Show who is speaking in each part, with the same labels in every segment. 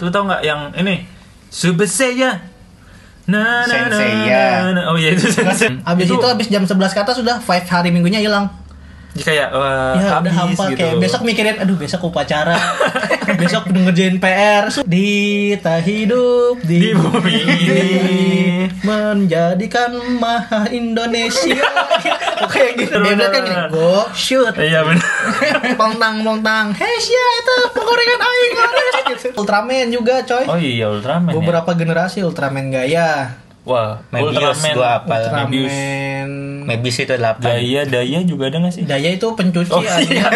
Speaker 1: Lu tau nggak yang ini? Super Seiya. Na na na
Speaker 2: Senseiya.
Speaker 1: na, na. Oh iya itu sensei.
Speaker 3: Abis itu, abis jam 11 kata sudah five hari minggunya hilang.
Speaker 1: kayak wah,
Speaker 3: Ya udah
Speaker 1: habis
Speaker 3: hampa
Speaker 1: gitu.
Speaker 3: kayak besok mikirin aduh besok upacara. besok ngerjain PR. Su- Dita hidup
Speaker 1: di
Speaker 3: di,
Speaker 1: bumi ini.
Speaker 3: menjadikan maha Indonesia. Oke gitu. Dia bilang kan gini, go shoot.
Speaker 1: Iya benar.
Speaker 3: Pongtang pongtang. Hei sia itu penggorengan aing. Gitu. Ultraman juga coy.
Speaker 1: Oh iya Ultraman. Ya?
Speaker 3: Beberapa generasi Ultraman gaya.
Speaker 1: Wah,
Speaker 2: Mebius
Speaker 1: Ultraman.
Speaker 2: gua apa?
Speaker 1: Mebius.
Speaker 3: Ultraman.
Speaker 2: Mebis itu 8
Speaker 1: Daya Daya juga ada nggak sih?
Speaker 3: Daya itu pencuci
Speaker 1: Oh, iya.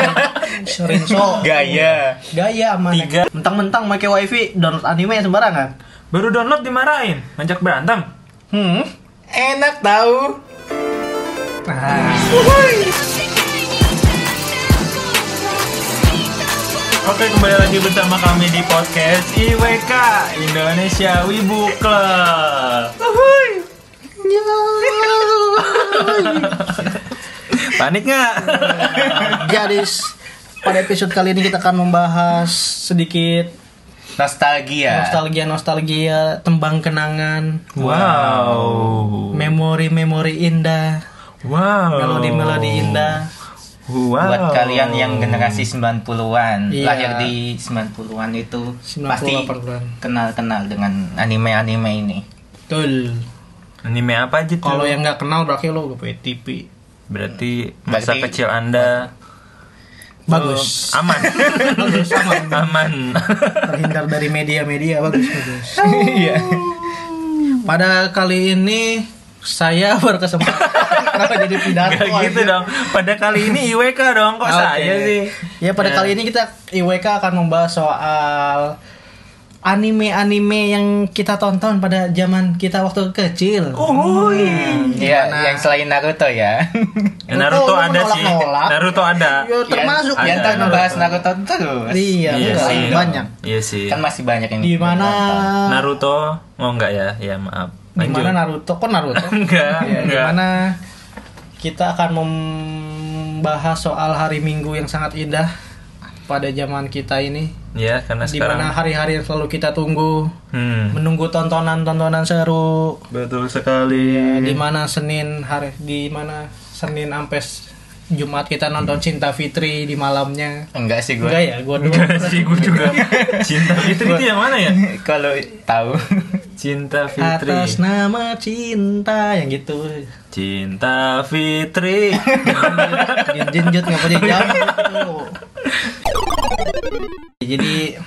Speaker 3: Rinso.
Speaker 2: Gaya
Speaker 3: Gaya aman.
Speaker 1: Tiga.
Speaker 3: Mentang-mentang pakai wifi download anime sembarangan.
Speaker 1: Baru download dimarahin, ngajak berantem.
Speaker 3: Hmm.
Speaker 2: Enak tahu
Speaker 3: Nah.
Speaker 1: Oke, kembali lagi bersama kami di podcast IWK Indonesia Wibu Club.
Speaker 3: Ya.
Speaker 1: Panik nggak?
Speaker 3: Jadi s- pada episode kali ini kita akan membahas sedikit Ya.
Speaker 2: Nostalgia
Speaker 3: nostalgia-nostalgia, tembang kenangan,
Speaker 1: Wow.
Speaker 3: memori-memori indah,
Speaker 1: Wow.
Speaker 3: melodi-melodi indah.
Speaker 1: Wow.
Speaker 2: Buat kalian yang generasi 90-an
Speaker 3: Iya.
Speaker 2: Lahir di 90-an itu
Speaker 3: 90-an.
Speaker 2: Pasti kenal-kenal dengan anime-anime ini
Speaker 3: Betul.
Speaker 1: anime apa aja tuh?
Speaker 3: Kalau yang nggak kenal berarti lo gak punya TV.
Speaker 1: berarti masa
Speaker 2: Berarti-
Speaker 1: kecil Anda
Speaker 3: Bagus.
Speaker 1: eh, aman.
Speaker 3: Bagus aman.
Speaker 1: aman.
Speaker 3: terhindar dari media-media bagus bagus. Iya. Pada kali ini saya berkesempatan kenapa jadi pidato
Speaker 1: Gak gitu
Speaker 3: anjir?
Speaker 1: dong. Pada kali ini IWK dong kok
Speaker 3: Oke.
Speaker 1: saya sih.
Speaker 3: Ya pada kali ini kita IWK akan membahas soal anime-anime yang kita tonton pada zaman kita waktu kecil.
Speaker 1: Oh, Uhuy.
Speaker 3: Hmm,
Speaker 2: Iya, yang selain Naruto ya
Speaker 1: Ya, Naruto
Speaker 3: Kok lu
Speaker 1: ada sih.
Speaker 3: menolak-nolak?
Speaker 1: Naruto ada.
Speaker 3: Ya, termasuk
Speaker 2: Yang
Speaker 1: iya. ada.
Speaker 2: kan membahas Naruto terus
Speaker 3: Iya, enggak, banyak.
Speaker 1: Iya sih.
Speaker 2: Kan masih banyak yang
Speaker 3: Di mana
Speaker 1: Naruto, oh enggak ya? Ya maaf.
Speaker 3: di
Speaker 1: Lanjut.
Speaker 3: mana Naruto? Kok Naruto?
Speaker 1: enggak,
Speaker 3: Ya, di
Speaker 1: enggak.
Speaker 3: mana kita akan membahas soal hari Minggu yang sangat indah pada zaman kita ini.
Speaker 1: Ya, karena
Speaker 3: Di
Speaker 1: sekarang.
Speaker 3: mana hari-hari yang selalu kita tunggu,
Speaker 1: Hmm.
Speaker 3: menunggu tontonan-tontonan seru. eh,
Speaker 1: Betul sekali.
Speaker 3: Di mana Senin hari di mana Senin sampai s- Jumat kita nonton Cinta Fitri di malamnya.
Speaker 2: Enggak sih gue
Speaker 3: Enggak ya, gua dulu.
Speaker 1: Enggak sih gue juga. Cinta Fitri itu yang mana ya?
Speaker 2: Kalau tahu
Speaker 1: Cinta Fitri.
Speaker 3: Atas nama cinta yang gitu.
Speaker 1: Cinta Fitri.
Speaker 3: Jenjut nggak
Speaker 2: Iya.
Speaker 3: punya jam. gitu. Jadi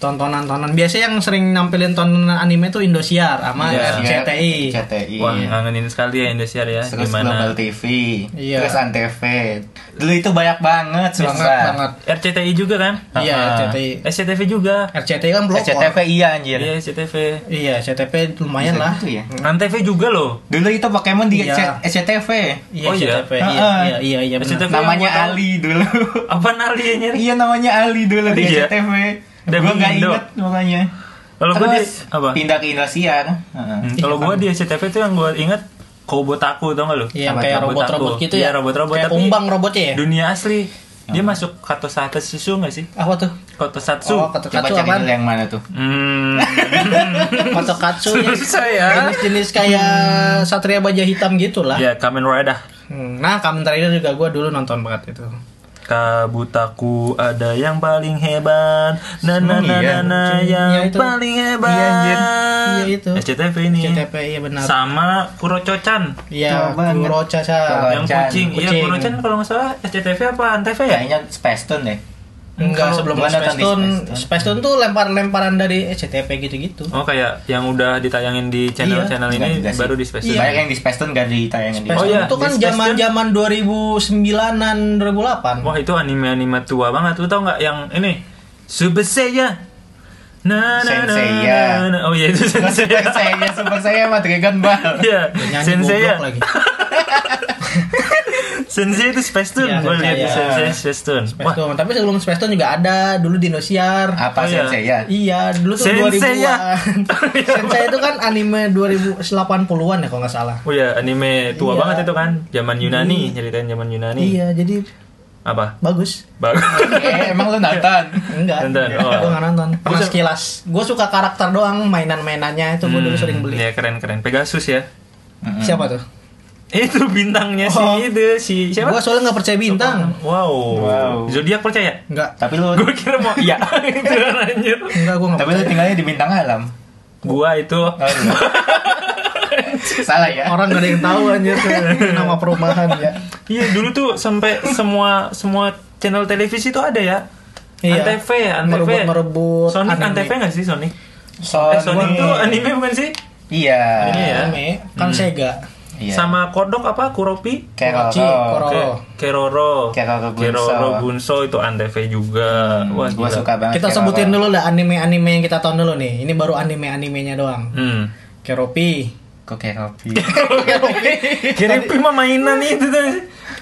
Speaker 3: tontonan-tontonan biasanya yang sering nampilin tontonan anime tuh Indosiar sama
Speaker 1: Iya.
Speaker 3: CTI.
Speaker 2: CTI
Speaker 1: Wah, ngangenin sekali ya Indosiar ya.
Speaker 2: terus Global
Speaker 1: Gimana?
Speaker 2: TV,
Speaker 3: Iya.
Speaker 2: terus Antv. Dulu itu banyak banget, sumpah.
Speaker 3: Banget banget.
Speaker 1: RCTI juga kan?
Speaker 3: Iya,
Speaker 2: Ah.
Speaker 3: RCTI.
Speaker 1: SCTV juga.
Speaker 3: RCTI kan blokor.
Speaker 2: SCTV iya anjir.
Speaker 1: Iya, SCTV.
Speaker 3: Iya, CTP lumayan
Speaker 2: Bisa
Speaker 3: lah.
Speaker 2: gitu ya.
Speaker 1: Antv juga loh.
Speaker 2: Dulu itu Pokemon di
Speaker 3: Iya.
Speaker 2: C- SCTV.
Speaker 3: Iya,
Speaker 1: Oh, iya?
Speaker 3: CTP. Iya,
Speaker 2: Ah, ah.
Speaker 3: iya, iya, iya benar.
Speaker 1: SCTV yang
Speaker 2: namanya
Speaker 1: gua tahu.
Speaker 2: Ali dulu.
Speaker 1: Apa nali ya nyari?
Speaker 2: iya namanya Ali dulu di
Speaker 1: Iya.
Speaker 2: SCTV.
Speaker 1: Dan
Speaker 2: Gue nggak
Speaker 1: Indo.
Speaker 2: inget makanya.
Speaker 1: Kalau gue di
Speaker 2: terus
Speaker 1: apa?
Speaker 2: pindah ke Indosiar. Heeh.
Speaker 1: Hmm, Kalau gua di SCTV tuh yang gua inget Kobotaku tau gak lu?
Speaker 3: Iya, yang
Speaker 2: Apa
Speaker 3: kayak
Speaker 1: tuh,
Speaker 3: robot-robot
Speaker 1: robot aku.
Speaker 3: gitu
Speaker 1: Iya,
Speaker 3: ya.
Speaker 1: robot-robot,
Speaker 3: Kayak
Speaker 1: tapi-
Speaker 3: kumbang robotnya ya.
Speaker 1: Dunia asli. Dia masuk Katosatsu susu gak sih?
Speaker 3: Apa tuh?
Speaker 1: Katosatsu.
Speaker 3: Oh, kata
Speaker 2: Coba
Speaker 3: katsu
Speaker 2: cari
Speaker 3: apaan?
Speaker 2: dulu yang mana tuh.
Speaker 1: Hmm. Iya.
Speaker 3: Kata katsu ya.
Speaker 1: Susah ya.
Speaker 3: Jenis-jenis kayak Satria Baja Hitam gitu lah.
Speaker 1: Ya, Kamen Rider.
Speaker 3: Hmm, Nah, Kamen Rider juga gue dulu nonton banget itu.
Speaker 1: Kabutaku ada yang paling hebat. Na na
Speaker 2: Emang
Speaker 1: na
Speaker 2: iya?
Speaker 1: na, na, yang
Speaker 3: Iya, itu.
Speaker 1: paling hebat.
Speaker 3: Iya, anjir. Iya, itu.
Speaker 1: SCTV ini.
Speaker 3: CTP iya benar.
Speaker 1: Sama Kurococan.
Speaker 3: Iya,
Speaker 2: Coba ingat.
Speaker 3: Kuro Caca.
Speaker 2: Coba.
Speaker 1: Yang
Speaker 2: Kurocan.
Speaker 1: kucing. Iya,
Speaker 3: Kucing.
Speaker 1: Kurocan kalau nggak salah SCTV apa Antv ya?
Speaker 2: Kayaknya Space Tune deh.
Speaker 1: kan
Speaker 3: Enggak, sebelum
Speaker 2: Gua nonton di
Speaker 3: Space Tune,
Speaker 2: Space Tune.
Speaker 3: Space Tune tuh lempar-lemparan dari eh, CTP gitu-gitu.
Speaker 1: Oh, kayak yang udah ditayangin di channel-channel
Speaker 2: Nggak
Speaker 1: ini
Speaker 2: juga sih.
Speaker 1: baru di Space
Speaker 3: Iya.
Speaker 1: Tune.
Speaker 2: Banyak yang di Space Tune gak ditayangin di
Speaker 3: Space
Speaker 1: Oh,
Speaker 3: Tune
Speaker 1: iya.
Speaker 3: tuh kan
Speaker 1: Di Space
Speaker 3: zaman-zaman 2009-an, 2008.
Speaker 1: Wah itu anime-anime tua banget Lu tau gak yang ini Super Seiya na, na, na,
Speaker 2: Senseiya.
Speaker 1: na, na. Oh iya itu Senseiya
Speaker 2: Super saya, Super saya sama Dragon Ball.
Speaker 1: Iya
Speaker 3: Nyanyi
Speaker 1: Senseiya
Speaker 3: goblok lagi.
Speaker 1: Senseiya itu Space Tune
Speaker 3: Iya,
Speaker 1: Gue liat di
Speaker 3: Senseiya.
Speaker 1: Senseiya Space Tune
Speaker 3: Space
Speaker 1: Wah
Speaker 3: Tune. Tapi sebelum Space Tune juga ada dulu di Indosiar.
Speaker 1: Oh,
Speaker 2: Apa
Speaker 1: iya.
Speaker 2: Sensei ya?
Speaker 3: Iya, dulu tuh
Speaker 1: Sensei ya.
Speaker 3: 2000-an. Sensei itu kan anime 2080-an ya kalau nggak salah.
Speaker 1: Oh iya anime tua
Speaker 3: Iya.
Speaker 1: banget itu kan Zaman Yunani Ceritain zaman Yunani
Speaker 3: Iya, jadi
Speaker 1: Apa?
Speaker 3: Bagus.
Speaker 1: Bagus.
Speaker 2: Eh, emang lu Nathan?
Speaker 3: Enggak.
Speaker 1: Nonton, oh.
Speaker 3: Gue nggak nonton. Pernah
Speaker 1: Gua-
Speaker 3: sekilas. Gue suka karakter doang, mainan-mainannya itu gue dulu sering beli.
Speaker 1: Ya keren-keren. Pegasus ya.
Speaker 3: Siapa tuh?
Speaker 1: Itu bintangnya
Speaker 3: Oh.
Speaker 1: si itu si siapa?
Speaker 3: Gue soalnya nggak percaya bintang. Oh.
Speaker 1: Wow.
Speaker 2: Wow.
Speaker 1: Zodiak percaya?
Speaker 3: Enggak.
Speaker 2: Tapi lu
Speaker 1: Gue kira mau iya itu kan anjir.
Speaker 3: Enggak, gue nggak
Speaker 2: tapi lu
Speaker 3: percaya.
Speaker 2: tinggalnya di bintang alam.
Speaker 1: Gua itu
Speaker 2: Tahu lu? Salah ya.
Speaker 3: Orang gak ada yang tahu anjir tuh nama perumahan ya.
Speaker 1: iya dulu tuh sampai semua semua channel televisi tuh ada ya.
Speaker 3: Iya.
Speaker 1: Antv ya, Antv.
Speaker 3: Merebut- merebut
Speaker 1: Sonic
Speaker 3: anime. Oh,
Speaker 1: Antv enggak sih Sonic?
Speaker 2: Son
Speaker 1: eh Sonic tuh anime bukan sih?
Speaker 2: Iya.
Speaker 1: Anime ya.
Speaker 3: Anime, kan Sega.
Speaker 2: Iya.
Speaker 1: Sama Kodok apa? Kuropi?
Speaker 2: Keroro.
Speaker 3: Kurochi, Koro.
Speaker 1: Ke- Keroro.
Speaker 2: Keroro Gunso.
Speaker 1: Keroro Gunso itu Antv juga.
Speaker 3: Hmm,
Speaker 1: Wah,
Speaker 2: Gua
Speaker 1: gila.
Speaker 2: suka banget.
Speaker 3: Kita
Speaker 2: Keroro.
Speaker 3: sebutin dulu lah anime-anime yang kita tonton dulu nih. Ini baru anime-animenya doang.
Speaker 1: Hmm.
Speaker 3: Keropi.
Speaker 2: Kok Keropi?
Speaker 3: Keropi.
Speaker 1: Kiripi mah mainan itu tuh.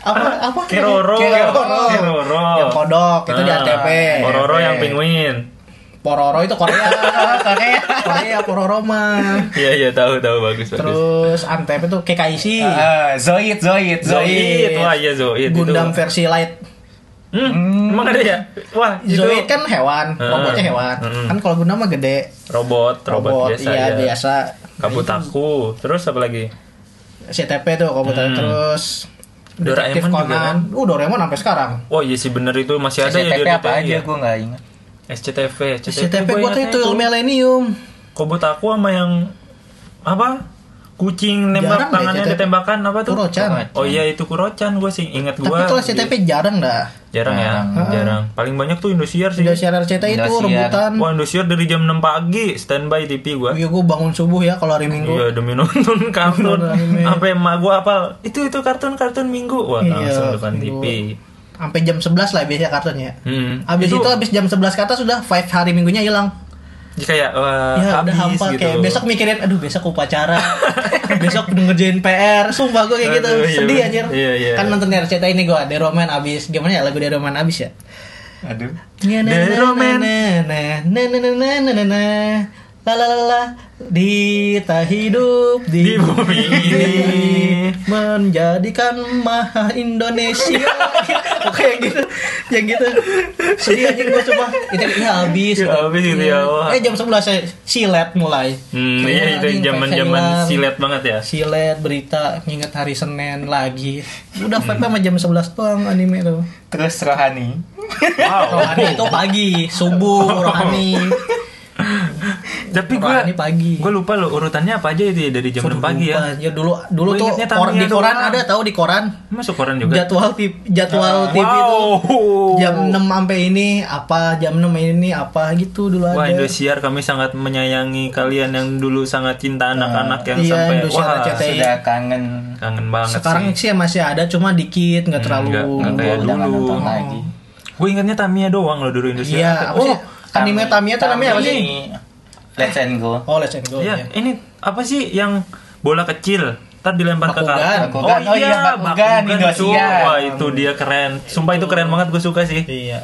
Speaker 3: apa apa?
Speaker 1: Keroro.
Speaker 3: Keroro.
Speaker 1: Keroro.
Speaker 3: Yang kodok itu di
Speaker 1: Ah,
Speaker 3: ATP.
Speaker 1: Kororo
Speaker 2: ATP.
Speaker 1: yang penguin.
Speaker 3: Pororo itu Korea. Korea. Korea Pororo mah.
Speaker 1: Iya iya tahu tahu bagus bagus.
Speaker 3: Terus Antep itu KKIC.
Speaker 2: Ah, Zoid, Zoid, Zoid.
Speaker 1: Zoid, wah iya Zoid itu.
Speaker 3: Gundam versi light.
Speaker 1: Hmm, emang ada ya? Wah, itu
Speaker 3: Zoid kan hewan, robotnya hewan.
Speaker 1: Hmm.
Speaker 3: Kan kalau Gundam mah gede.
Speaker 1: robot, robot,
Speaker 3: Robot,
Speaker 1: biasa
Speaker 3: iya
Speaker 1: ya.
Speaker 3: biasa. Hmm.
Speaker 1: Kabutaku. Terus apa lagi?
Speaker 3: CTP tuh komputer
Speaker 1: Hmm.
Speaker 3: terus. Detektif
Speaker 1: Doraemon juga kan?
Speaker 3: Conan. Uh, Doraemon sampai sekarang.
Speaker 1: Oh iya sih bener itu masih ada ya
Speaker 2: SCTV
Speaker 1: di
Speaker 2: apa
Speaker 1: RCTI
Speaker 2: aja
Speaker 1: ya?
Speaker 2: gue nggak ingat.
Speaker 1: SCTV,
Speaker 3: CTP
Speaker 1: gua ya,
Speaker 3: gua tuh
Speaker 1: ingatnya
Speaker 3: itu Millennium.
Speaker 1: Kobutaku sama yang apa? Kucing nembak
Speaker 3: Jarang deh,
Speaker 1: tangannya
Speaker 3: CTP.
Speaker 1: ada tembakan apa tuh?
Speaker 3: Kurocan.
Speaker 1: Oh iya itu kurocan gue sih ingat
Speaker 3: Tapi
Speaker 1: gue.
Speaker 3: kalau CTP jarang dah.
Speaker 1: Jarang ya,
Speaker 2: Jarang.
Speaker 1: jarang. Paling banyak tuh Indosiar sih.
Speaker 3: Sudah siaran RCTI itu
Speaker 2: Indosiar.
Speaker 3: rebutan.
Speaker 1: Wah Indosiar dari jam 6 pagi standby TV gua.
Speaker 3: Iya gue bangun subuh ya kalau hari Minggu.
Speaker 1: Iya demi nonton kartun
Speaker 3: Nonton anime.
Speaker 1: Sampai emak gua apal Itu itu kartun-kartun minggu Wah
Speaker 3: Iya,
Speaker 1: langsung depan
Speaker 3: minggu.
Speaker 1: TV
Speaker 3: Sampai jam 11 lah biasanya kartunya.
Speaker 1: hmm.
Speaker 3: Abis itu, abis jam 11 kata sudah five hari minggunya hilang.
Speaker 1: Kayak wah,
Speaker 3: Ya udah
Speaker 1: habis
Speaker 3: hampa
Speaker 1: gitu
Speaker 3: kayak besok mikirin aduh besok upacara. besok ngerjain PR. Sumpah gue kayak gitu.
Speaker 1: Aduh, iya,
Speaker 3: Sedih
Speaker 1: bener.
Speaker 3: anjir.
Speaker 1: Iya, iya.
Speaker 3: Kan nonton RCTI ini gue Deroman abis gimana ya lagu Deroman abis ya.
Speaker 2: Aduh.
Speaker 1: Deroman.
Speaker 3: Na, na, na, na, na, na, na, na, na. La la la la Dita hidup di,
Speaker 1: Di bumi ini.
Speaker 3: Menjadikan maha Indonesia Kok Kayak gitu Yang gitu Sedih aja gue cuma Itu ya habis
Speaker 1: Ya, habis gitu ya, wah.
Speaker 3: Eh jam 11 saya silet mulai
Speaker 1: Hmm, iya
Speaker 3: Kayaknya
Speaker 1: itu
Speaker 3: anjing,
Speaker 1: zaman-zaman
Speaker 3: kayak hilang.
Speaker 1: silet banget ya
Speaker 3: Silet berita Nginget hari Senin lagi
Speaker 1: Hmm.
Speaker 3: Udah vibe sama jam 11 doang anime tuh
Speaker 2: Terus Rohani.
Speaker 1: Wow
Speaker 3: Rohani itu pagi, subuh, rohani.
Speaker 1: Tapi gua
Speaker 3: Rohani pagi.
Speaker 1: Gua lupa loh urutannya apa aja itu ya Dari jam 6 pagi ya
Speaker 3: Lupa, dulu dulu
Speaker 1: Gua
Speaker 3: tuh
Speaker 1: ingatnya
Speaker 3: kor- di
Speaker 1: Tamiya
Speaker 3: koran
Speaker 1: doang.
Speaker 3: ada tahu di koran
Speaker 1: Masuk koran juga Ah,
Speaker 3: jadwal TV, jadwal TV itu
Speaker 1: Wow
Speaker 3: jam 6 sampai ini apa jam 6 ini apa gitu dulu
Speaker 1: Wah
Speaker 3: ada.
Speaker 1: Indosiar kami sangat menyayangi kalian yang dulu sangat cinta anak-anak yang
Speaker 3: Iya,
Speaker 1: sampai
Speaker 3: Indosiar
Speaker 1: wah
Speaker 3: RCTI.
Speaker 2: Sudah kangen.
Speaker 1: kangen banget
Speaker 3: Sekarang
Speaker 1: sih. Hmm,
Speaker 3: sih masih ada cuma dikit nggak terlalu
Speaker 1: nggak- nggak
Speaker 2: Gua
Speaker 1: kayak
Speaker 2: udah nggak
Speaker 1: dulu.
Speaker 2: nonton lagi.
Speaker 1: Gue ingatnya Tamiya doang loh dulu Indosiar.
Speaker 3: Iya, apa
Speaker 1: oh,
Speaker 3: sih? Anime Tamiya tuh namanya apa sih?
Speaker 2: Let's and go.
Speaker 3: Oh, let's go.
Speaker 1: iya,
Speaker 3: ya.
Speaker 1: ini apa sih yang bola kecil? Ntar dilempar ke
Speaker 3: Bakugan.
Speaker 1: kartu.
Speaker 2: Bakugan. Oh iya, Bakugan, Indosiar.
Speaker 1: cuy. Wah, itu dia keren. Sumpah itu keren banget gue suka sih.
Speaker 3: Iya.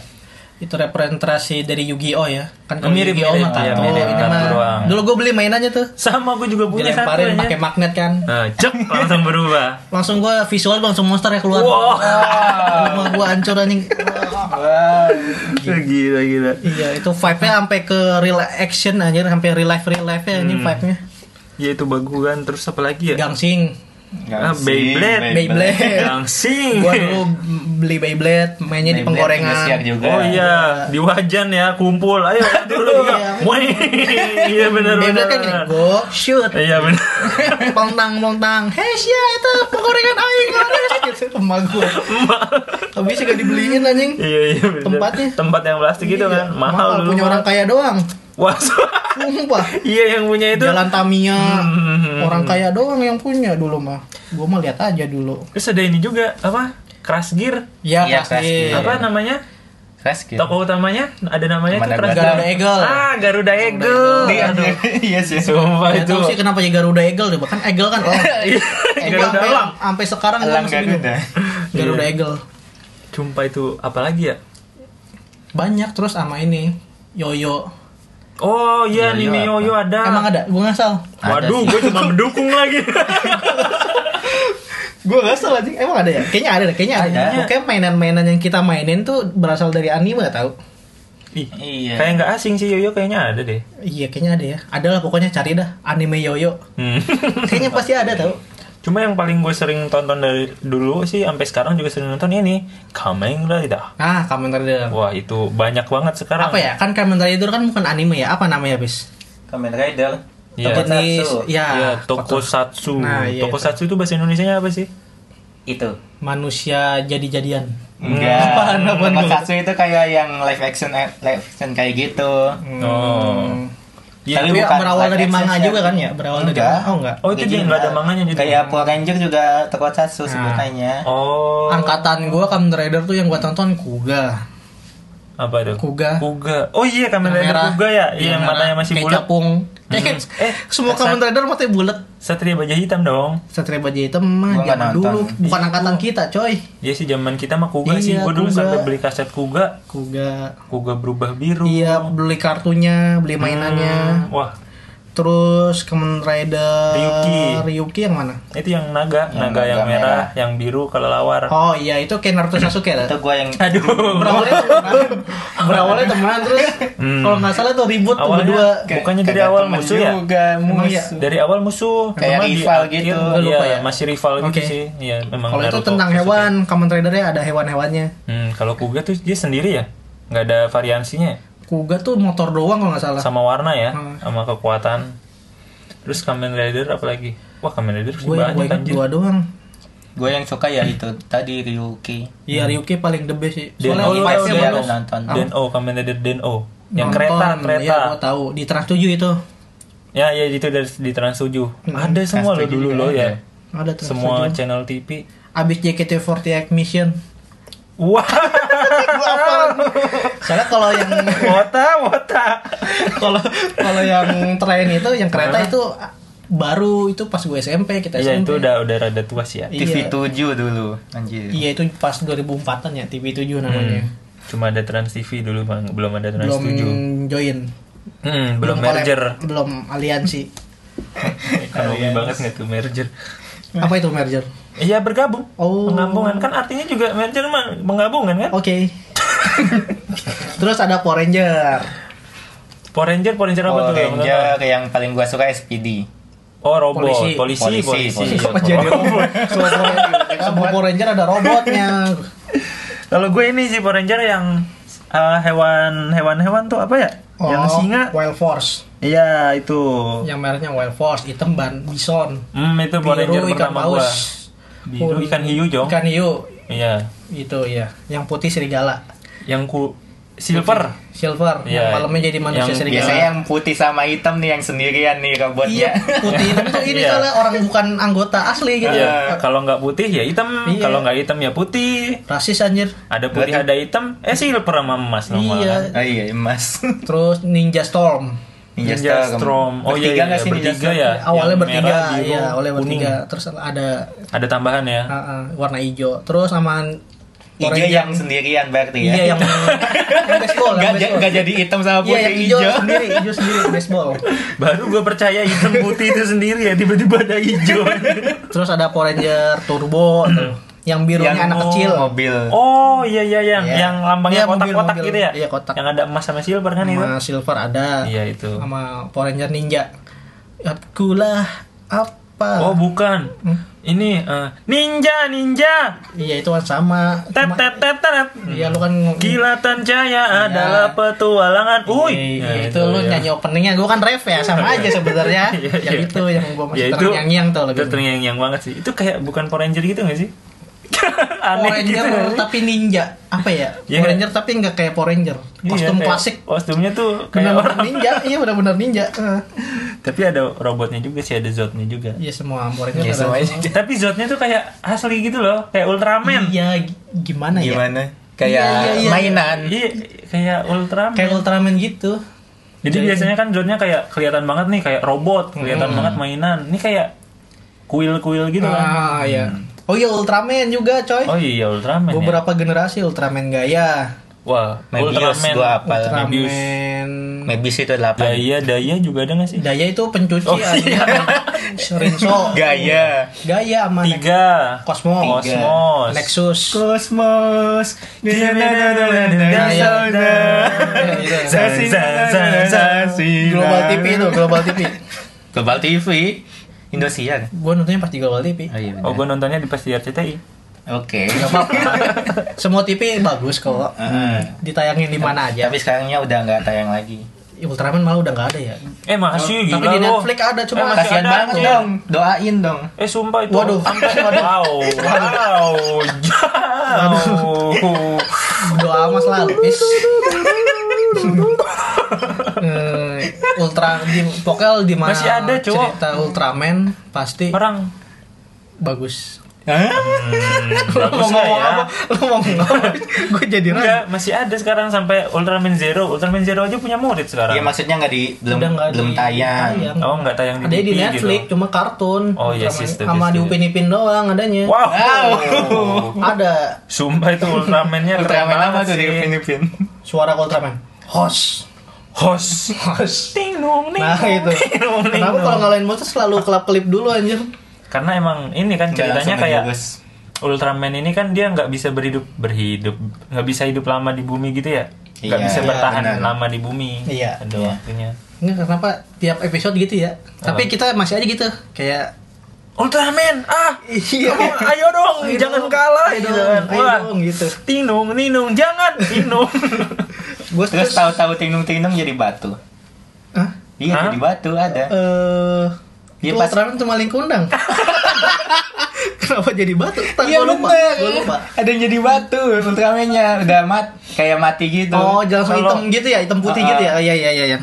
Speaker 3: Itu representasi dari Yu-Gi-Oh ya. Kan kalau
Speaker 1: Mirip,
Speaker 3: Yu-Gi-Oh
Speaker 1: mirip,
Speaker 3: mah
Speaker 1: iya,
Speaker 3: kartu,
Speaker 1: mirip,
Speaker 3: ini
Speaker 1: kartu
Speaker 3: mah.
Speaker 1: doang.
Speaker 3: Dulu gue beli mainannya tuh.
Speaker 1: Sama gue juga punya satu
Speaker 3: Dilemparin pakai
Speaker 1: aja.
Speaker 3: magnet kan.
Speaker 1: Nah, cek langsung berubah.
Speaker 3: langsung gue visual langsung monster ya keluar
Speaker 1: Wow.
Speaker 3: rumah gue hancur anjing
Speaker 2: Wow.
Speaker 1: Gila gila.
Speaker 3: iya itu vibe nya sampai ke real action anjir sampai real life real life nya
Speaker 1: Hmm.
Speaker 3: anjing vibe nya
Speaker 1: Ya itu bagugan terus apa lagi ya?
Speaker 3: gangsing
Speaker 1: Ah, Beyblade.
Speaker 3: Beyblade.
Speaker 1: Gangsing.
Speaker 3: gue dulu beli Beyblade mainnya di
Speaker 2: Beyblade
Speaker 3: penggorengan
Speaker 2: Indosiar juga.
Speaker 1: Oh iya, di wajan ya, kumpul. Ayo dulu.
Speaker 3: Iya.
Speaker 1: Woi. Iya benar benar.
Speaker 3: Beyblade kan gini go shoot
Speaker 1: Iya benar.
Speaker 3: Pontang pontang Hei sia itu penggorengan aing laris gitu emak gue habis gak dibeliin anjing
Speaker 1: Iya iya benar.
Speaker 3: Tempatnya.
Speaker 1: tempat yang plastik itu kan
Speaker 3: Iya,
Speaker 1: mahal, dulu.
Speaker 3: punya orang kaya doang
Speaker 1: Wah.
Speaker 3: sumpah
Speaker 1: iya yang punya itu.
Speaker 3: Jalan Tamiya
Speaker 1: Hmm.
Speaker 3: Orang kaya doang yang punya dulu mah Gue mah lihat aja dulu
Speaker 1: Terus ada ini juga apa? Crash Gear.
Speaker 3: Iya
Speaker 2: Iya,
Speaker 3: pasti
Speaker 2: pasti.
Speaker 1: Apa
Speaker 2: Iya.
Speaker 1: namanya?
Speaker 2: Crash gitu.
Speaker 1: Toko utamanya ada namanya
Speaker 2: Mana
Speaker 1: itu Crash
Speaker 3: Garuda Eagle.
Speaker 1: Ah, Garuda Eagle.
Speaker 2: Iya,
Speaker 1: Aduh.
Speaker 2: Iya sih.
Speaker 1: Sumpah
Speaker 3: Gak
Speaker 1: itu. Iya,
Speaker 3: tau sih kenapa ya Garuda Eagle deh Bahkan Eagle kan oh
Speaker 1: Garuda Elang.
Speaker 3: Sampai sekarang gua
Speaker 2: Elang
Speaker 3: masih bingung.
Speaker 2: Garuda.
Speaker 1: Iya.
Speaker 3: Garuda Eagle
Speaker 1: Jumpa itu apalagi ya?
Speaker 3: Banyak terus sama ini Yoyo
Speaker 1: Oh iya,
Speaker 2: Yoyo
Speaker 1: Nini
Speaker 2: apa?
Speaker 1: Yoyo ada.
Speaker 3: Emang ada? Gue ngasal
Speaker 2: Ada
Speaker 1: Waduh,
Speaker 2: sih.
Speaker 1: gue cuma mendukung lagi.
Speaker 3: Gue gak salah anjing, emang ada ya? Kayaknya ada deh, kayaknya ada.
Speaker 2: Ada.
Speaker 3: Pokoknya mainan-mainan yang kita mainin tuh berasal dari anime tau
Speaker 1: Ih,
Speaker 2: Iya.
Speaker 1: Kayak nggak asing sih Yoyo kayaknya ada deh.
Speaker 3: Iya kayaknya ada ya, ada lah pokoknya cari dah anime yoyo
Speaker 1: Hmm.
Speaker 3: Kayaknya pasti ada tau
Speaker 1: Cuma yang paling gue sering tonton dari dulu sih sampai sekarang juga sering nonton ini Kamen Rider.
Speaker 3: Ah, Kamen Rider
Speaker 1: Wah itu banyak banget sekarang.
Speaker 3: Apa ya, kan Kamen Rider kan bukan anime ya, apa namanya bis?
Speaker 2: Kamen Rider.
Speaker 1: Iya.
Speaker 3: Jenis,
Speaker 2: Tokusatsu.
Speaker 3: ya,
Speaker 1: Iya, tokusatsu.
Speaker 3: Nah, iya,
Speaker 1: tokusatsu itu bahasa Indonesia apa sih?
Speaker 2: Itu.
Speaker 3: manusia jadi-jadian
Speaker 2: Enggak.
Speaker 3: Apaan, apaan
Speaker 2: Tokusatsu
Speaker 3: dulu?
Speaker 2: itu kayak yang live action eh, live action kayak gitu.
Speaker 3: Hmm.
Speaker 1: Oh. Iya,
Speaker 2: Tapi
Speaker 3: Ya, Tapi
Speaker 2: bukan
Speaker 3: berawal
Speaker 2: live
Speaker 3: dari
Speaker 2: action
Speaker 3: manga
Speaker 2: sih.
Speaker 3: juga kan ya? Berawal dari
Speaker 2: Enggak.
Speaker 3: Oh enggak
Speaker 1: Oh itu dia nggak ada manganya jadi.
Speaker 2: Kayak Power Ranger juga Tokusatsu
Speaker 3: Nah.
Speaker 2: sebutannya.
Speaker 1: Oh.
Speaker 3: Angkatan gua Kamen Rider tuh yang gua tonton Kuga
Speaker 1: Apa itu?
Speaker 3: Kuga.
Speaker 1: Kuga. Oh iya Kamen
Speaker 3: Yang
Speaker 1: Rider
Speaker 3: merah.
Speaker 1: Kuga ya. Iya yang
Speaker 3: merah,
Speaker 1: matanya masih
Speaker 3: kayak
Speaker 1: bulat.
Speaker 3: capung.
Speaker 1: Hmm.
Speaker 3: Eh,
Speaker 1: Eh,
Speaker 3: semua
Speaker 1: dasar.
Speaker 3: Kamen Rider matanya bulat.
Speaker 1: Satria Baja Hitam dong.
Speaker 3: Satria Baja Hitam mah
Speaker 2: Gua nggak
Speaker 3: zaman
Speaker 2: nonton.
Speaker 3: dulu bukan angkatan kita, coy.
Speaker 1: Iya sih zaman kita mah Kuga sih.
Speaker 3: Iya,
Speaker 1: Gue dulu
Speaker 3: Kuga.
Speaker 1: sampai beli kaset Kuga.
Speaker 3: Kuga.
Speaker 1: Kuga berubah biru.
Speaker 3: Iya, beli kartunya, beli mainannya.
Speaker 1: Hmm, Wah,
Speaker 3: Terus Kamen Rider
Speaker 1: Ryuki.
Speaker 3: Ryuki yang mana?
Speaker 1: itu yang naga,
Speaker 2: Yang
Speaker 1: naga yang
Speaker 2: naga
Speaker 1: merah,
Speaker 2: merah.
Speaker 1: yang biru kelelawar.
Speaker 3: Oh iya, itu kayak Naruto Sasuke lah.
Speaker 2: Itu gua yang
Speaker 1: Oh. Aduh.
Speaker 3: berawalnya temenan berawalnya temenan terus
Speaker 1: Hmm.
Speaker 3: kalau nggak salah tuh ribut tuh
Speaker 1: Awalnya-
Speaker 3: berdua
Speaker 2: Kayak-
Speaker 1: Bukannya dari
Speaker 2: kagak
Speaker 1: awal
Speaker 2: temen
Speaker 1: musuh ya?
Speaker 2: juga,
Speaker 3: Emang iya?
Speaker 2: musuh.
Speaker 1: Dari awal musuh
Speaker 2: Kayak
Speaker 1: cuma di
Speaker 2: rival
Speaker 1: akhir,
Speaker 2: gitu.
Speaker 1: iya,
Speaker 3: Gua lupa ya.
Speaker 1: masih rival gitu
Speaker 3: Oke.
Speaker 1: sih. Iya, memang
Speaker 3: kalau itu
Speaker 1: Naruto
Speaker 3: tentang
Speaker 1: Sasuke.
Speaker 3: hewan Kamen Rider-nya ada hewan-hewannya
Speaker 1: Hmm, kalau Kuga tuh dia sendiri ya? Nggak ada variansinya ya?
Speaker 3: Kuga tuh motor doang kalau nggak salah
Speaker 1: sama warna ya,
Speaker 3: Hmm.
Speaker 1: sama kekuatan. Terus Kamen Rider apalagi? Wah, Kamen Rider sih
Speaker 3: gue gue
Speaker 1: banyak
Speaker 3: ingat
Speaker 1: anjir.
Speaker 3: dua doang
Speaker 2: gua yang suka ya itu tadi Ryuki.
Speaker 3: Iya Ryuki paling the best sih
Speaker 1: Dan
Speaker 3: soalnya
Speaker 1: oh, lu tahu
Speaker 3: vibe-nya
Speaker 1: Hmm. dia
Speaker 2: lu
Speaker 3: bagus
Speaker 2: nonton.
Speaker 1: Den O, Kamen Rider Den O. Yang
Speaker 3: Nonton,
Speaker 1: kereta,
Speaker 3: iya
Speaker 1: kereta.
Speaker 3: gue tahu di Trans 7 itu
Speaker 1: Ya, ya itu dari di Trans 7.
Speaker 3: Hmm.
Speaker 1: Ada semua lo
Speaker 2: 7
Speaker 1: dulu
Speaker 2: juga
Speaker 1: lo
Speaker 2: ada.
Speaker 1: ya.
Speaker 3: ada Trans
Speaker 1: Semua
Speaker 3: 7
Speaker 1: channel TV.
Speaker 3: abis JKT48 Mission
Speaker 1: Wah,
Speaker 3: gue hafal soalnya kalau yang
Speaker 1: wota, wota.
Speaker 3: kalau kalau yang tren itu yang kereta itu baru itu pas gue SMP kita
Speaker 1: Iya,
Speaker 3: SMP
Speaker 1: itu udah udah rada tua sih ya.
Speaker 3: Iya.
Speaker 2: TV 7 dulu anjir.
Speaker 3: Iya itu pas 2004-an ya TV7 namanya.
Speaker 1: Hmm. Cuma ada Trans TV dulu, Bang. Belum ada Trans
Speaker 3: Belum
Speaker 1: 7.
Speaker 3: join.
Speaker 1: Hmm, belum
Speaker 3: collab,
Speaker 1: merger.
Speaker 3: Belum aliansi.
Speaker 1: Kan hobi
Speaker 3: Iya.
Speaker 1: banget nggak tuh merger.
Speaker 3: Apa itu merger?
Speaker 1: Iya, bergabung.
Speaker 3: Oh.
Speaker 1: Penggabungan kan artinya juga merger mah penggabungan kan?
Speaker 3: Oke. Terus ada Power Ranger.
Speaker 1: Power Ranger, Power Ranger apa
Speaker 2: Power
Speaker 1: tuh? yang
Speaker 2: Ranger yang paling gua suka SPD.
Speaker 1: pertama? Oh, robot.
Speaker 3: Polisi.
Speaker 1: Polisi, polisi.
Speaker 2: Polisi, polisi.
Speaker 1: Iya,
Speaker 3: Apa jadi
Speaker 1: robot.
Speaker 3: robot? Semua Power- Semua Power Ranger ada robotnya.
Speaker 1: Kalau gue ini sih Power Ranger yang eh, hewan hewan-hewan tuh apa ya? yang
Speaker 3: Oh,
Speaker 1: singa.
Speaker 3: Wild Force.
Speaker 1: Iya, itu.
Speaker 3: Yang merahnya Wild Force, hitam ban bison.
Speaker 1: Hmm, itu Power Ranger
Speaker 3: Biru ikan
Speaker 1: pertama
Speaker 3: paus.
Speaker 1: gua. Biru ikan hiu, Jong.
Speaker 3: Ikan hiu
Speaker 1: Iya.
Speaker 3: itu ya. Yang putih serigala.
Speaker 1: Yang ku silver.
Speaker 3: Silver
Speaker 1: Iya.
Speaker 3: yang malamnya jadi manusia
Speaker 1: Yang
Speaker 3: serigala.
Speaker 2: Biasanya yang putih sama hitam nih yang sendirian nih
Speaker 3: Iya,
Speaker 2: robotnya.
Speaker 3: putih hitam tuh ini
Speaker 1: Iya.
Speaker 3: soalnya orang bukan anggota asli gitu.
Speaker 1: Iya, kalau nggak putih ya hitam,
Speaker 3: Iya.
Speaker 1: kalau nggak hitam ya putih.
Speaker 3: Rasis anjir.
Speaker 1: Ada putih, ada hitam. Eh silver sama emas normal. kan?
Speaker 3: Iya.
Speaker 2: Oh iya, emas.
Speaker 3: Terus Ninja Storm.
Speaker 1: Ninja, Storm. Oh iya,
Speaker 2: Bertiga
Speaker 1: iya,
Speaker 2: nggak sih Ninja
Speaker 1: bertiga
Speaker 2: Storm?
Speaker 1: ya.
Speaker 3: Awalnya
Speaker 1: Yang
Speaker 3: bertiga,
Speaker 1: merah, biru,
Speaker 3: iya, awalnya
Speaker 1: kuning.
Speaker 3: bertiga. Terus ada
Speaker 1: Ada tambahan ya.
Speaker 3: uh, uh, warna hijau. Terus sama
Speaker 2: Ijo
Speaker 3: orange
Speaker 2: yang sendirian berarti ya.
Speaker 3: iya yang yang baseball,
Speaker 2: Nggak
Speaker 3: yang
Speaker 2: ja-
Speaker 3: baseball.
Speaker 2: nggak jadi hitam sama
Speaker 3: Iya,
Speaker 2: putih
Speaker 3: yang hijau
Speaker 2: hijau.
Speaker 3: sendiri, hijau sendiri baseball.
Speaker 1: Baru gue percaya hitam putih itu sendiri ya tiba-tiba ada hijau.
Speaker 3: Terus ada Power Ranger Turbo tuh. Yang birunya
Speaker 2: Yang
Speaker 3: anak
Speaker 2: mau-
Speaker 3: kecil.
Speaker 2: Mobil.
Speaker 1: Oh iya iya yang
Speaker 2: Iya.
Speaker 1: yang lambangnya
Speaker 3: Iya, mobil,
Speaker 1: kotak-kotak
Speaker 3: mobil.
Speaker 1: gitu ya.
Speaker 3: Iya, kotak.
Speaker 1: Yang ada emas sama silver kan itu.
Speaker 3: Sama Silver ada.
Speaker 1: Iya itu.
Speaker 3: Sama Power Ranger Ninja. Akulah apa?
Speaker 1: Oh bukan.
Speaker 3: Hmm?
Speaker 1: Ini eh, ninja ninja.
Speaker 3: Iya itu kan sama.
Speaker 1: Tet
Speaker 3: Cuma-
Speaker 1: tet tet tet.
Speaker 3: Iya lu kan
Speaker 1: Kilatan jaya adalah petualangan. Uy.
Speaker 3: Iya,
Speaker 1: Ya,
Speaker 3: itu lu nyanyi openingnya, gue kan ref ya sama aja sebenarnya.
Speaker 1: Iya,
Speaker 3: yang
Speaker 1: iya.
Speaker 3: itu yang
Speaker 1: Ya,
Speaker 3: gue masih
Speaker 1: itu-
Speaker 3: terngiang-ngiang tuh
Speaker 1: Itu
Speaker 3: lebih.
Speaker 1: terngiang-ngiang banget sih. Itu kayak bukan Power Ranger gitu gak sih?
Speaker 3: Power
Speaker 1: Aneh gitu.
Speaker 3: Ranger
Speaker 1: nggak sih?
Speaker 3: tapi ninja apa ya?
Speaker 1: Iya.
Speaker 3: Power Ranger tapi nggak kayak Power Ranger.
Speaker 1: Iya,
Speaker 3: Kostum
Speaker 1: kayak-
Speaker 3: klasik.
Speaker 1: Kostumnya tuh kayak
Speaker 3: Benar-benar
Speaker 1: orang.
Speaker 3: ninja, iya benar-benar ninja. Eh.
Speaker 1: Tapi ada robotnya juga sih, ada Zodnya juga.
Speaker 3: Iya semua Power Ranger.
Speaker 2: Iya,
Speaker 3: ada
Speaker 2: semuanya.
Speaker 3: semua.
Speaker 1: Tapi Zodnya tuh kayak asli gitu loh, kayak Ultraman.
Speaker 3: Iya gi- gimana ya?
Speaker 2: Gimana? Kayak
Speaker 3: Iya, iya, iya.
Speaker 2: mainan.
Speaker 1: Iya, kayak Ultraman.
Speaker 3: Kayak Ultraman gitu.
Speaker 1: Jadi biasanya kan Zodnya kayak kelihatan banget nih kayak robot, kelihatan
Speaker 3: Hmm.
Speaker 1: banget mainan. Ini kayak kuil-kuil gitu kan.
Speaker 3: Ah iya. Oh iya Ultraman juga coy.
Speaker 1: Oh iya Ultraman ya.
Speaker 3: Beberapa generasi Ultraman gaya.
Speaker 1: Wah,
Speaker 2: Mebius
Speaker 1: Ultraman.
Speaker 2: gua apa?
Speaker 1: Ultraman.
Speaker 3: Ultraman
Speaker 2: Maybe itu 8.
Speaker 1: Daya, Daya juga ada nggak sih?
Speaker 3: Daya itu pencuci
Speaker 1: Oh,
Speaker 3: ada.
Speaker 1: iya.
Speaker 3: Rinso.
Speaker 2: Gaya.
Speaker 3: Gaya sama Nex-
Speaker 1: Tiga.
Speaker 3: Cosmo.
Speaker 2: Tiga.
Speaker 1: Cosmos.
Speaker 3: Nexus.
Speaker 1: Cosmos.
Speaker 2: Iya, iya.
Speaker 3: Global TV itu, Global TV.
Speaker 2: Global TV. Indosiar.
Speaker 3: Gue nontonnya pas di Global TV.
Speaker 2: Oh iya.
Speaker 1: Oh,
Speaker 2: benar.
Speaker 1: gue nontonnya di pas di RCTI.
Speaker 2: Oke.
Speaker 3: Gak apa-apa. Semua TV bagus kok.
Speaker 2: Heeh.
Speaker 3: Ditayangin di mana aja.
Speaker 2: Ya, Tapi sekarangnya udah nggak tayang lagi.
Speaker 3: Ya, Ultraman malah udah nggak ada ya.
Speaker 1: Eh, masih gila
Speaker 3: Tapi di
Speaker 1: loh.
Speaker 3: Netflix ada cuma
Speaker 1: Eh, masih
Speaker 2: Kasihan
Speaker 1: ada,
Speaker 3: Ah,
Speaker 2: banget
Speaker 1: masih ada.
Speaker 2: dong. Doain dong.
Speaker 1: Eh, sumpah itu.
Speaker 3: Waduh.
Speaker 1: Sampai-
Speaker 3: Waduh.
Speaker 1: Wow. Wow. Wow.
Speaker 3: doa mas lapis Eh, ultra di pokoknya di mana
Speaker 1: Masih ada, cowok.
Speaker 3: cerita Ultraman pasti
Speaker 1: Perang.
Speaker 3: bagus.
Speaker 1: Hmm, Bagus nggak ya?
Speaker 3: Lu mau ngomong apa? Gue jadi
Speaker 1: Enggak, masih ada sekarang sampai Ultraman Zero. Ultraman Zero aja punya murid sekarang.
Speaker 2: Iya maksudnya nggak di belum
Speaker 3: Udah nggak
Speaker 2: belum
Speaker 3: di-
Speaker 2: tayang.
Speaker 3: tayang.
Speaker 1: Oh, nggak tayang di
Speaker 3: Ada di
Speaker 1: TV
Speaker 3: Netflix
Speaker 1: gitu.
Speaker 3: cuma kartun.
Speaker 1: Oh, iya,
Speaker 3: Ultraman.
Speaker 1: yes, yes,
Speaker 3: Sama
Speaker 1: yes,
Speaker 3: di
Speaker 1: yes.
Speaker 3: Upin Ipin doang adanya.
Speaker 1: Wow.
Speaker 3: Ada
Speaker 1: Sumpah itu Ultramannya keren
Speaker 2: Ultraman apa
Speaker 1: banget
Speaker 2: tuh di
Speaker 1: sih.
Speaker 2: Filipin?
Speaker 3: suara Ultraman. Host.
Speaker 1: Host.
Speaker 3: Host.
Speaker 1: Ting nung ning.
Speaker 3: Nah itu.
Speaker 1: nung, ning, nung.
Speaker 3: Kenapa kalau ngalahin monster selalu kelap kelip dulu anjir?
Speaker 1: Karena emang ini kan ceritanya
Speaker 2: Langsung
Speaker 1: kayak
Speaker 2: aja, Gus.
Speaker 1: Ultraman ini kan dia nggak bisa berhidup berhidup nggak bisa hidup lama di bumi gitu ya nggak
Speaker 2: Iya,
Speaker 1: bisa
Speaker 2: iya,
Speaker 1: bertahan
Speaker 2: benar.
Speaker 1: lama di bumi
Speaker 3: Iya.
Speaker 1: ada
Speaker 2: Iya.
Speaker 1: waktunya
Speaker 3: Ini kenapa tiap episode gitu ya? Tapi kita masih aja gitu kayak
Speaker 1: Ultraman ah
Speaker 3: Iya.
Speaker 1: kamu- ayo dong
Speaker 3: Ayo
Speaker 1: jangan
Speaker 3: dong,
Speaker 1: kalah
Speaker 3: ayo
Speaker 1: gitu
Speaker 3: dong,
Speaker 1: kan
Speaker 3: ayo
Speaker 1: wah
Speaker 3: dong, gitu.
Speaker 1: tinung ninung jangan tinung
Speaker 3: gue
Speaker 2: Terus
Speaker 3: terus
Speaker 2: tahu-tahu tingnung-tingnung jadi batu.
Speaker 3: Hah?
Speaker 2: Iya
Speaker 1: Hah?
Speaker 2: jadi batu ada.
Speaker 3: eh itu
Speaker 2: Iya, pas-
Speaker 3: Ultraman tuh maling kundang kenapa jadi batu Entar
Speaker 2: Iya
Speaker 3: gua lupa
Speaker 2: bener.
Speaker 3: gua lupa
Speaker 2: Ada yang jadi batu Ultraman-nya udah mat kayak mati gitu.
Speaker 3: oh langsung
Speaker 1: Kalau-
Speaker 3: hitam gitu ya hitam putih
Speaker 2: Ah,
Speaker 3: gitu ya
Speaker 2: ah.
Speaker 3: Oh, iya iya iya iya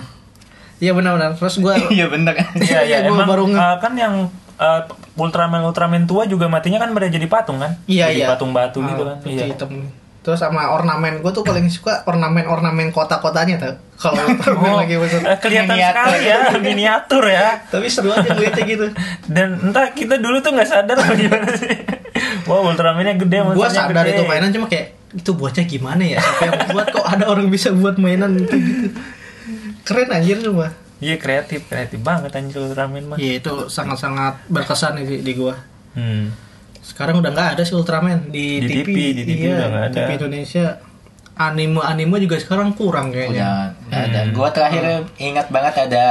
Speaker 3: iya benar benar terus gue
Speaker 2: Iya bener.
Speaker 1: iya iya
Speaker 3: Gua
Speaker 1: emang
Speaker 3: baru nge-
Speaker 1: eh, kan yang Ultraman Ultraman tua juga matinya kan pada jadi patung kan
Speaker 3: iya
Speaker 1: jadi
Speaker 3: iya
Speaker 1: patung batu gitu kan
Speaker 3: putih hitam terus sama ornamen gue tuh paling suka ornamen ornamen kota kotanya tuh kalau Ultraman
Speaker 1: Oh,
Speaker 3: lagi besar
Speaker 1: eh, kelihatan
Speaker 2: Miniatur.
Speaker 1: sekali ya miniatur ya
Speaker 3: tapi seru aja ngeliatnya gitu
Speaker 1: dan entah kita dulu tuh nggak sadar apa gimana sih wow Ultramannya gede
Speaker 3: gue
Speaker 1: monsternya
Speaker 3: sadar
Speaker 1: gede.
Speaker 3: itu mainan cuma kayak itu buatnya gimana ya siapa yang buat kok ada orang bisa buat mainan itu gitu keren anjir cuma
Speaker 1: iya kreatif kreatif banget anjir Ultraman mah
Speaker 3: ya itu sangat-sangat berkesan di, di gua
Speaker 1: hmm.
Speaker 3: sekarang udah nggak ada sih Ultraman di,
Speaker 1: Di TV, di TV
Speaker 3: iya,
Speaker 1: udah nggak ada.
Speaker 3: TV Indonesia anime anime juga sekarang kurang
Speaker 1: Oh,
Speaker 3: kayaknya
Speaker 2: Udah nggak ada. Gua terakhir ingat banget ada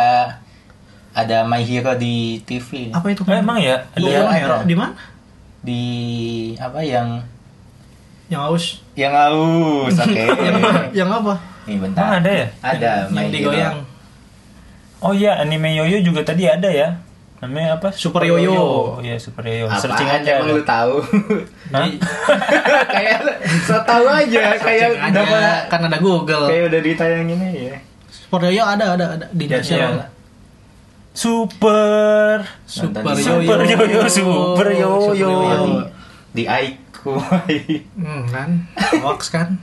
Speaker 2: ada My Hero di TV
Speaker 3: apa itu
Speaker 1: Eh, emang ya ada
Speaker 3: Iya,
Speaker 2: ada.
Speaker 3: Hero. di mana
Speaker 2: di apa yang
Speaker 3: yang aus
Speaker 2: yang aus oke
Speaker 3: yang apa
Speaker 2: ini
Speaker 1: emang
Speaker 2: bentar
Speaker 1: ada ya
Speaker 2: ada
Speaker 3: yang
Speaker 2: My Hero.
Speaker 3: digoyang
Speaker 1: oh iya anime Yoyo juga tadi ada ya namanya apa
Speaker 3: Super Yoyo.
Speaker 1: iya Super Yoyo
Speaker 2: Apaan
Speaker 1: searching aja
Speaker 2: emang lu tahu
Speaker 1: Hah?
Speaker 3: Iya.
Speaker 2: kayak so tahu aja kayak
Speaker 3: Searching
Speaker 2: udah
Speaker 3: aja, kan ada Google
Speaker 2: kayak udah ditayangin aja
Speaker 3: Sport Yoyo ada ada ada di
Speaker 1: Iya.
Speaker 3: Indonesia ada.
Speaker 1: Super
Speaker 3: Super
Speaker 2: Nonton
Speaker 3: Yoyo
Speaker 1: Super Yoyo, Super Yoyo.
Speaker 2: di Aiku
Speaker 3: Hmm kan, box kan.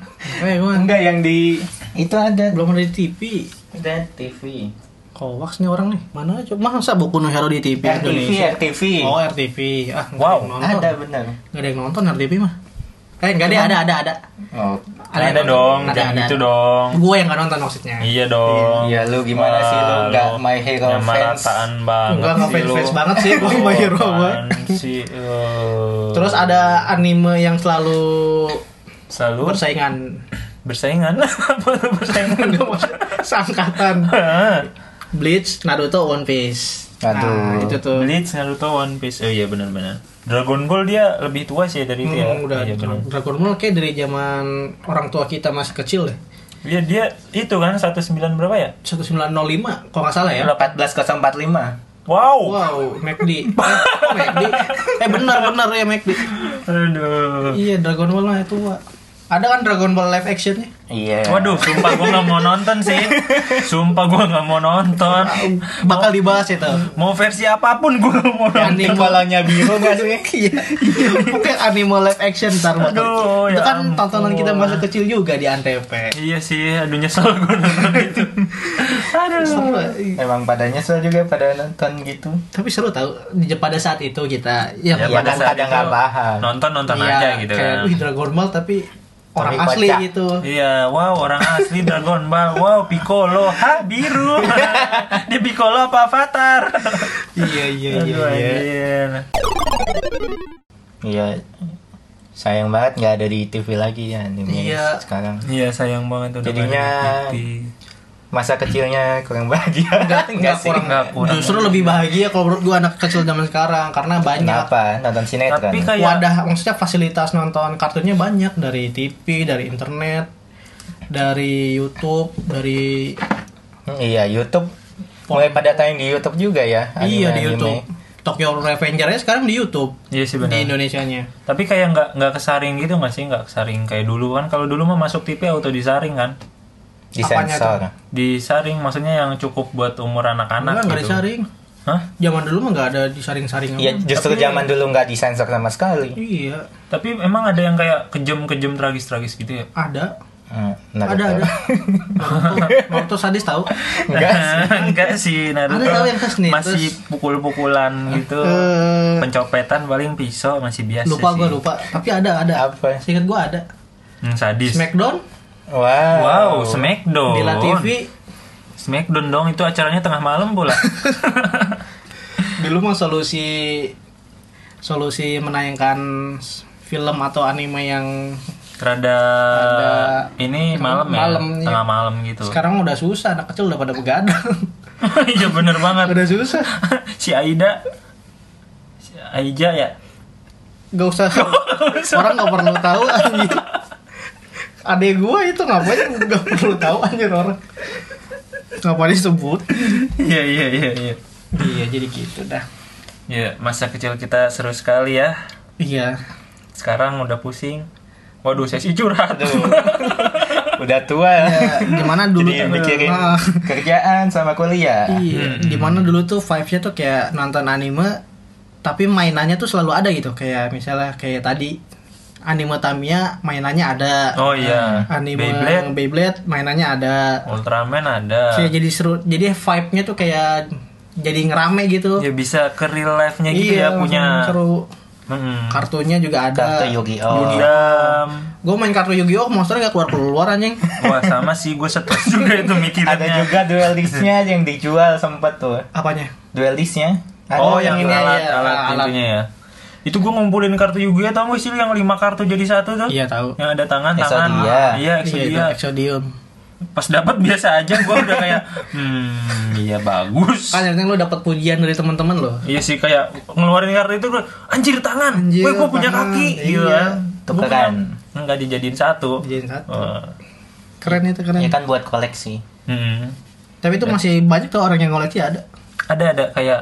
Speaker 3: Eh gua
Speaker 2: enggak yang di itu ada
Speaker 3: belum ada di TV.
Speaker 2: ada TV
Speaker 3: Kovacs nih orang nih. Mana cuma masa buku no Hero di TV
Speaker 2: RTV
Speaker 3: Indonesia.
Speaker 2: RTV
Speaker 3: Oh, RTV. Ah, nggak
Speaker 1: Wow,
Speaker 3: ada yang nonton.
Speaker 2: ada bener
Speaker 3: Nggak ada yang nonton RTV mah. Eh, enggak deh, ada ada ada.
Speaker 2: oh
Speaker 3: yang
Speaker 1: ada
Speaker 3: nonton.
Speaker 1: dong
Speaker 3: Ada,
Speaker 1: jangan
Speaker 3: ada,
Speaker 1: gitu
Speaker 3: ada.
Speaker 1: dong
Speaker 3: Gue yang nggak nonton maksudnya.
Speaker 1: Iya dong.
Speaker 2: Iya, lu gimana sih, lu nggak My Hero fans?
Speaker 1: Pemerataan banget.
Speaker 3: Enggak nggak
Speaker 1: sih
Speaker 3: fans
Speaker 1: lu.
Speaker 3: fans banget sih gue sama Hero gua.
Speaker 1: Apaan sih, eh.
Speaker 3: Terus ada anime yang selalu
Speaker 1: selalu
Speaker 3: bersaingan.
Speaker 1: bersaingan. Apa tuh bersaingan?
Speaker 3: Nggak maksud seangkatan.
Speaker 1: Hah?
Speaker 3: Bleach, Naruto, One Piece. Nah,
Speaker 2: Aduh.
Speaker 3: itu tuh.
Speaker 1: Bleach, Naruto, One Piece. Oh iya benar-benar. Dragon Ball dia lebih tua sih dari itu ya.
Speaker 3: Hmm, udah
Speaker 1: iya, benar.
Speaker 3: Dragon Ball kayak dari zaman orang tua kita masih kecil ya. deh.
Speaker 1: Iya dia itu kan 19 berapa ya?
Speaker 3: 1905 kalau nggak salah ya.
Speaker 2: 14045
Speaker 1: Wow.
Speaker 3: Wow, McD. Eh, kok McD. Eh benar benar ya McD.
Speaker 1: Aduh.
Speaker 3: Iya Dragon Ball lah itu Wak. Ada kan Dragon Ball live actionnya?
Speaker 2: iya
Speaker 1: Waduh, sumpah gua nggak mau nonton sih. Sumpah gua nggak mau nonton.
Speaker 3: Bakal dibahas itu.
Speaker 1: Mau versi apapun gua nggak mau nonton.
Speaker 3: Hmm. Anime
Speaker 2: kepalanya biru nggak sih
Speaker 3: Iya. Pokoknya anime live action ntar bakal.
Speaker 1: Aduh,
Speaker 3: itu
Speaker 1: ya
Speaker 3: kan
Speaker 1: ampun.
Speaker 3: tontonan kita masa kecil juga di Antv.
Speaker 1: Iya sih, aduh nyesel gue nonton itu.
Speaker 3: Seru,
Speaker 1: aduh.
Speaker 2: Emang pada nyesel juga pada nonton gitu.
Speaker 3: Tapi seru tau di pada saat itu kita yang
Speaker 2: Ya, pada saat
Speaker 1: itu
Speaker 2: nggak paham.
Speaker 1: Iya, gitu. Nonton nonton
Speaker 3: Iya,
Speaker 1: aja gitu
Speaker 3: kayak,
Speaker 1: kan.
Speaker 3: Wih Dragon Ball tapi orang
Speaker 2: Tapi
Speaker 3: asli
Speaker 2: kocak.
Speaker 3: gitu
Speaker 1: Iya, wow orang asli Dragon Ball, wow Piccolo, ha biru, dia Piccolo apa Avatar?
Speaker 3: iya iya iya,
Speaker 1: Aduh,
Speaker 3: iya.
Speaker 1: anjir.
Speaker 2: Iya. Sayang banget nggak ada di TV lagi ya anime
Speaker 3: Iya.
Speaker 2: sekarang.
Speaker 1: Iya sayang banget udah
Speaker 2: Jadinya
Speaker 1: nggak ada di TV.
Speaker 2: Masa kecilnya kurang bahagia.
Speaker 3: Nggak kurang
Speaker 1: nggak kurang.
Speaker 3: justru lebih bahagia kalau menurut gua anak kecil zaman sekarang karena banyak
Speaker 2: Kenapa? Nonton sinetron.
Speaker 1: Tapi kayak
Speaker 3: wadah maksudnya fasilitas nonton kartunya banyak dari TV dari internet dari YouTube dari
Speaker 2: Hmm, Iya, YouTube mulai pada tayang di YouTube juga ya.
Speaker 3: iya
Speaker 2: anime-anime.
Speaker 3: di YouTube Tokyo Revenger nya sekarang di YouTube
Speaker 1: Iya sih
Speaker 3: di
Speaker 1: benar.
Speaker 3: Indonesia nya
Speaker 1: Tapi kayak nggak nggak kesaring gitu nggak sih nggak kesaring kayak dulu kan kalau dulu mah masuk TV auto disaring kan
Speaker 3: Apanya
Speaker 2: Disensor.
Speaker 1: disaring maksudnya yang cukup buat umur anak-anak
Speaker 3: nggak
Speaker 1: gitu. Iya.
Speaker 3: disaring
Speaker 1: Hah?
Speaker 3: zaman dulu mah nggak ada disaring-saring
Speaker 2: Ya justru zaman dulu nggak disensor sama sekali.
Speaker 3: iya
Speaker 1: Tapi emang ada yang kayak kejam-kejam tragis-tragis gitu ya?
Speaker 3: ada
Speaker 2: Hmm,
Speaker 3: ada
Speaker 2: Naruto.
Speaker 3: ada mau tuh sadis tahu
Speaker 2: Enggak sih.
Speaker 1: Enggak sih Naruto
Speaker 3: Ada tahu yang kesini,
Speaker 1: masih pukul-pukulan gitu
Speaker 3: Eh.
Speaker 1: pencopetan paling pisau masih biasa
Speaker 3: lupa
Speaker 1: sih.
Speaker 3: gua lupa tapi ada ada
Speaker 2: Apa?
Speaker 3: singkat gua ada
Speaker 1: Hmm, sadis
Speaker 3: Smackdown
Speaker 2: Wow.
Speaker 3: Oh.
Speaker 1: wow Smackdown
Speaker 3: Bella TV
Speaker 1: Smackdown dong itu acaranya tengah malam pula
Speaker 3: dulu mah solusi solusi menayangkan film atau anime yang
Speaker 1: rada
Speaker 3: Ada-
Speaker 1: ini malam ya
Speaker 3: Malam, iya.
Speaker 1: tengah malam gitu
Speaker 3: sekarang udah susah anak kecil udah pada begadang
Speaker 1: iya bener banget
Speaker 3: udah susah
Speaker 1: si Aida si Aija ya
Speaker 3: gak usah orang nggak perlu tahu anjir adek gua itu ngapain nggak perlu tahu anjir orang ngapain disebut
Speaker 1: iya iya iya iya
Speaker 3: iya jadi gitu dah
Speaker 1: Iya, masa kecil kita seru sekali ya
Speaker 3: iya
Speaker 1: sekarang udah pusing waduh sesi curhat
Speaker 2: Udah tua.
Speaker 3: Ya, gimana dulu
Speaker 2: Iya. Jadi mikirin
Speaker 3: Ah.
Speaker 2: kerjaan sama kuliah.
Speaker 3: Iya, dimana dulu tuh vibes-nya tuh kayak nonton anime tapi mainannya tuh selalu ada gitu kayak misalnya kayak tadi anime Tamiya mainannya ada
Speaker 1: oh iya
Speaker 3: Ah, anime
Speaker 1: Beyblade Ah.
Speaker 3: Beyblade. mainannya ada
Speaker 1: Ultraman ada
Speaker 3: Kayak jadi seru jadi vibe-nya tuh kayak jadi ngerame gitu Iya,
Speaker 1: ya bisa ke real life nya gitu ya punya
Speaker 3: seru
Speaker 1: Mm-mm. Oh.
Speaker 3: kartunya juga ada
Speaker 2: Kartu Yu-Gi-Oh.
Speaker 1: Gundam
Speaker 3: gue main kartu Yu-Gi-Oh monsternya gak keluar keluar anjing
Speaker 1: wah sama sih gue stres juga itu mikirannya
Speaker 2: Ada juga duel disc-nya yang dijual sempet tuh.
Speaker 3: apanya
Speaker 2: Duel disc-nya. Ada
Speaker 1: oh
Speaker 3: yang
Speaker 1: yang,
Speaker 3: ini
Speaker 1: alat
Speaker 3: aja,
Speaker 1: alat,
Speaker 3: alat.
Speaker 1: pintunya ya itu gue ngumpulin kartu Yu-Gi-Oh tau gak sih yang lima kartu jadi satu tuh
Speaker 3: iya tahu
Speaker 1: yang ada tangan tangan
Speaker 2: Exodia.
Speaker 1: iya
Speaker 3: itu,
Speaker 1: Exodia
Speaker 3: Exodium
Speaker 1: pas dapat biasa aja gue udah kayak hmm iya bagus
Speaker 3: kan yang penting lo dapet pujian dari teman-teman lo
Speaker 1: Iya sih kayak ngeluarin kartu itu gua, anjir tangan,
Speaker 3: Anjir,
Speaker 1: gue gue punya
Speaker 3: tangan."
Speaker 1: kaki,
Speaker 3: Iya.
Speaker 2: Tukeran.
Speaker 1: nggak dijadiin satu.
Speaker 3: Dijadiin satu.
Speaker 1: Eh,
Speaker 3: keren itu keren
Speaker 2: Ya
Speaker 1: Iya.
Speaker 2: kan buat koleksi.
Speaker 1: hmm.
Speaker 3: Tapi itu masih banyak tuh orang yang koleksi ada.
Speaker 1: Ada ada kayak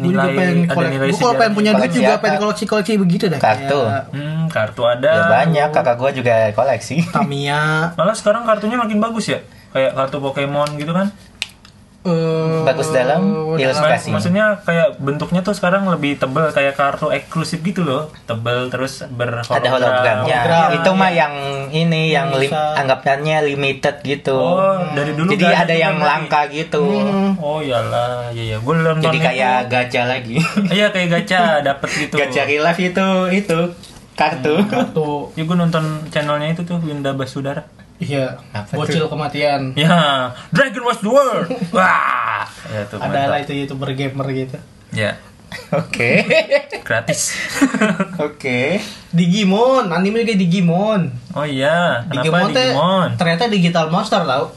Speaker 3: Gue juga
Speaker 1: nilai
Speaker 3: pengen
Speaker 1: ada
Speaker 3: koleksi.
Speaker 1: nilai
Speaker 3: Gue kalau
Speaker 1: sejarah. gitu.
Speaker 3: pengen punya duit
Speaker 2: Koleksi
Speaker 3: juga
Speaker 2: apa?
Speaker 3: pengen koleksi-koleksi begitu deh. Iya.
Speaker 2: Kartu.
Speaker 3: Kayak
Speaker 1: Hmm, kartu ada.
Speaker 2: Ya banyak kakak gua juga koleksi.
Speaker 3: Tamiya.
Speaker 1: Malah sekarang kartunya makin bagus ya, kayak kartu Pokemon gitu kan.
Speaker 3: eh,
Speaker 2: Bagus dalam
Speaker 3: udah.
Speaker 1: Ma-
Speaker 2: ilustrasi.
Speaker 1: Maksudnya kayak bentuknya tuh sekarang lebih tebel kayak kartu eksklusif gitu loh, tebel terus berhologram.
Speaker 2: Ada hologramnya.
Speaker 3: Hologram.
Speaker 2: Itu
Speaker 1: Iya.
Speaker 2: mah yang ini yang lim-
Speaker 3: Bisa.
Speaker 2: anggapannya limited gitu.
Speaker 1: Oh, dari dulu
Speaker 2: Jadi
Speaker 1: nggak
Speaker 2: ada
Speaker 1: gitu
Speaker 2: yang
Speaker 1: kan,
Speaker 2: langka gitu.
Speaker 1: Oh iyalah, iya iya. Gue nonton
Speaker 2: Jadi
Speaker 1: itu.
Speaker 2: kayak gacha lagi.
Speaker 1: Iya kayak gacha dapet gitu.
Speaker 2: gacha relive itu itu kartu.
Speaker 3: Kartu.
Speaker 1: Ya gue nonton channelnya itu tuh Winda Basudara.
Speaker 3: Iya.
Speaker 2: Apa
Speaker 3: Bocil kematian.
Speaker 1: Ya, Dragon Watch the World. Wah, ya tuh.
Speaker 3: Ada
Speaker 1: mantap.
Speaker 3: lah itu youtuber gamer gitu.
Speaker 1: Ya,
Speaker 2: Oke.
Speaker 1: gratis.
Speaker 2: Oke.
Speaker 3: Digimon, anime juga Digimon.
Speaker 1: oh iya, kenapa Digimon?
Speaker 3: teh ternyata digital monster tau.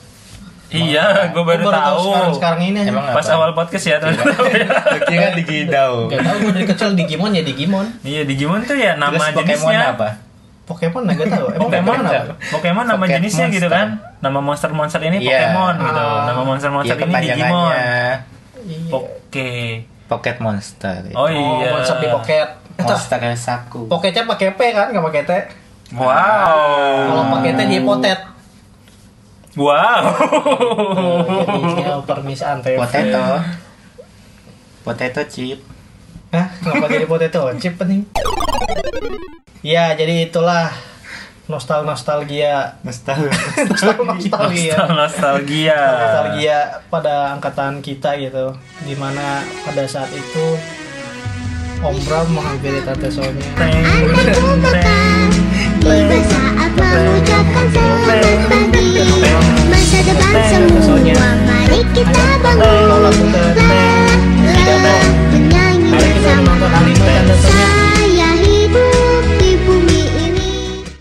Speaker 1: Iya, gue baru,
Speaker 3: Gua
Speaker 1: tahu.
Speaker 3: sekarang, sekarang ini aja.
Speaker 2: Emang
Speaker 1: Pas
Speaker 2: apa?
Speaker 1: awal podcast ya ternyata.
Speaker 2: Kira digidau.
Speaker 3: Gak tau gue dari kecil Digimon ya Digimon.
Speaker 1: Iya, Digimon tuh ya nama
Speaker 2: Terus Pokemon
Speaker 1: jenisnya.
Speaker 2: apa?
Speaker 3: Pokemon gak tau.
Speaker 1: Pokemon
Speaker 3: Emang Eh, Pokemon apa? Iya.
Speaker 1: apa? Pokemon nama
Speaker 2: Pocket
Speaker 1: jenisnya gitu
Speaker 2: monster.
Speaker 1: kan. Nama monster-monster ini
Speaker 2: Iya.
Speaker 1: Pokemon gitu.
Speaker 3: Ah.
Speaker 1: Nama
Speaker 2: Ya
Speaker 1: monster-monster ini Digimon.
Speaker 2: kepanjangannya
Speaker 3: Iya.
Speaker 1: Oke.
Speaker 2: Pocket Monster.
Speaker 1: Oh
Speaker 3: Oh,
Speaker 1: iya.
Speaker 3: monster di pocket. Eh, tas-
Speaker 2: Monster Saku.
Speaker 3: Poketnya pakai P kan, gak pakai T.
Speaker 1: Wow.
Speaker 3: Kalau pakai T dia potet.
Speaker 1: Wow.
Speaker 3: Jadi permisaan T.
Speaker 2: Potato. Potato chip.
Speaker 3: Hah? Kenapa jadi potato chip nih? Ya, jadi itulah nostal nostalgia
Speaker 2: Nostalgia.
Speaker 3: nostalgia
Speaker 1: Nostalgia.
Speaker 3: Oh, iya. nostalgia pada angkatan kita gitu dimana pada saat itu Om Bram menghampiri tante Sonya
Speaker 1: Teng, teng, teng.
Speaker 4: Tiba saat mengucapkan selamat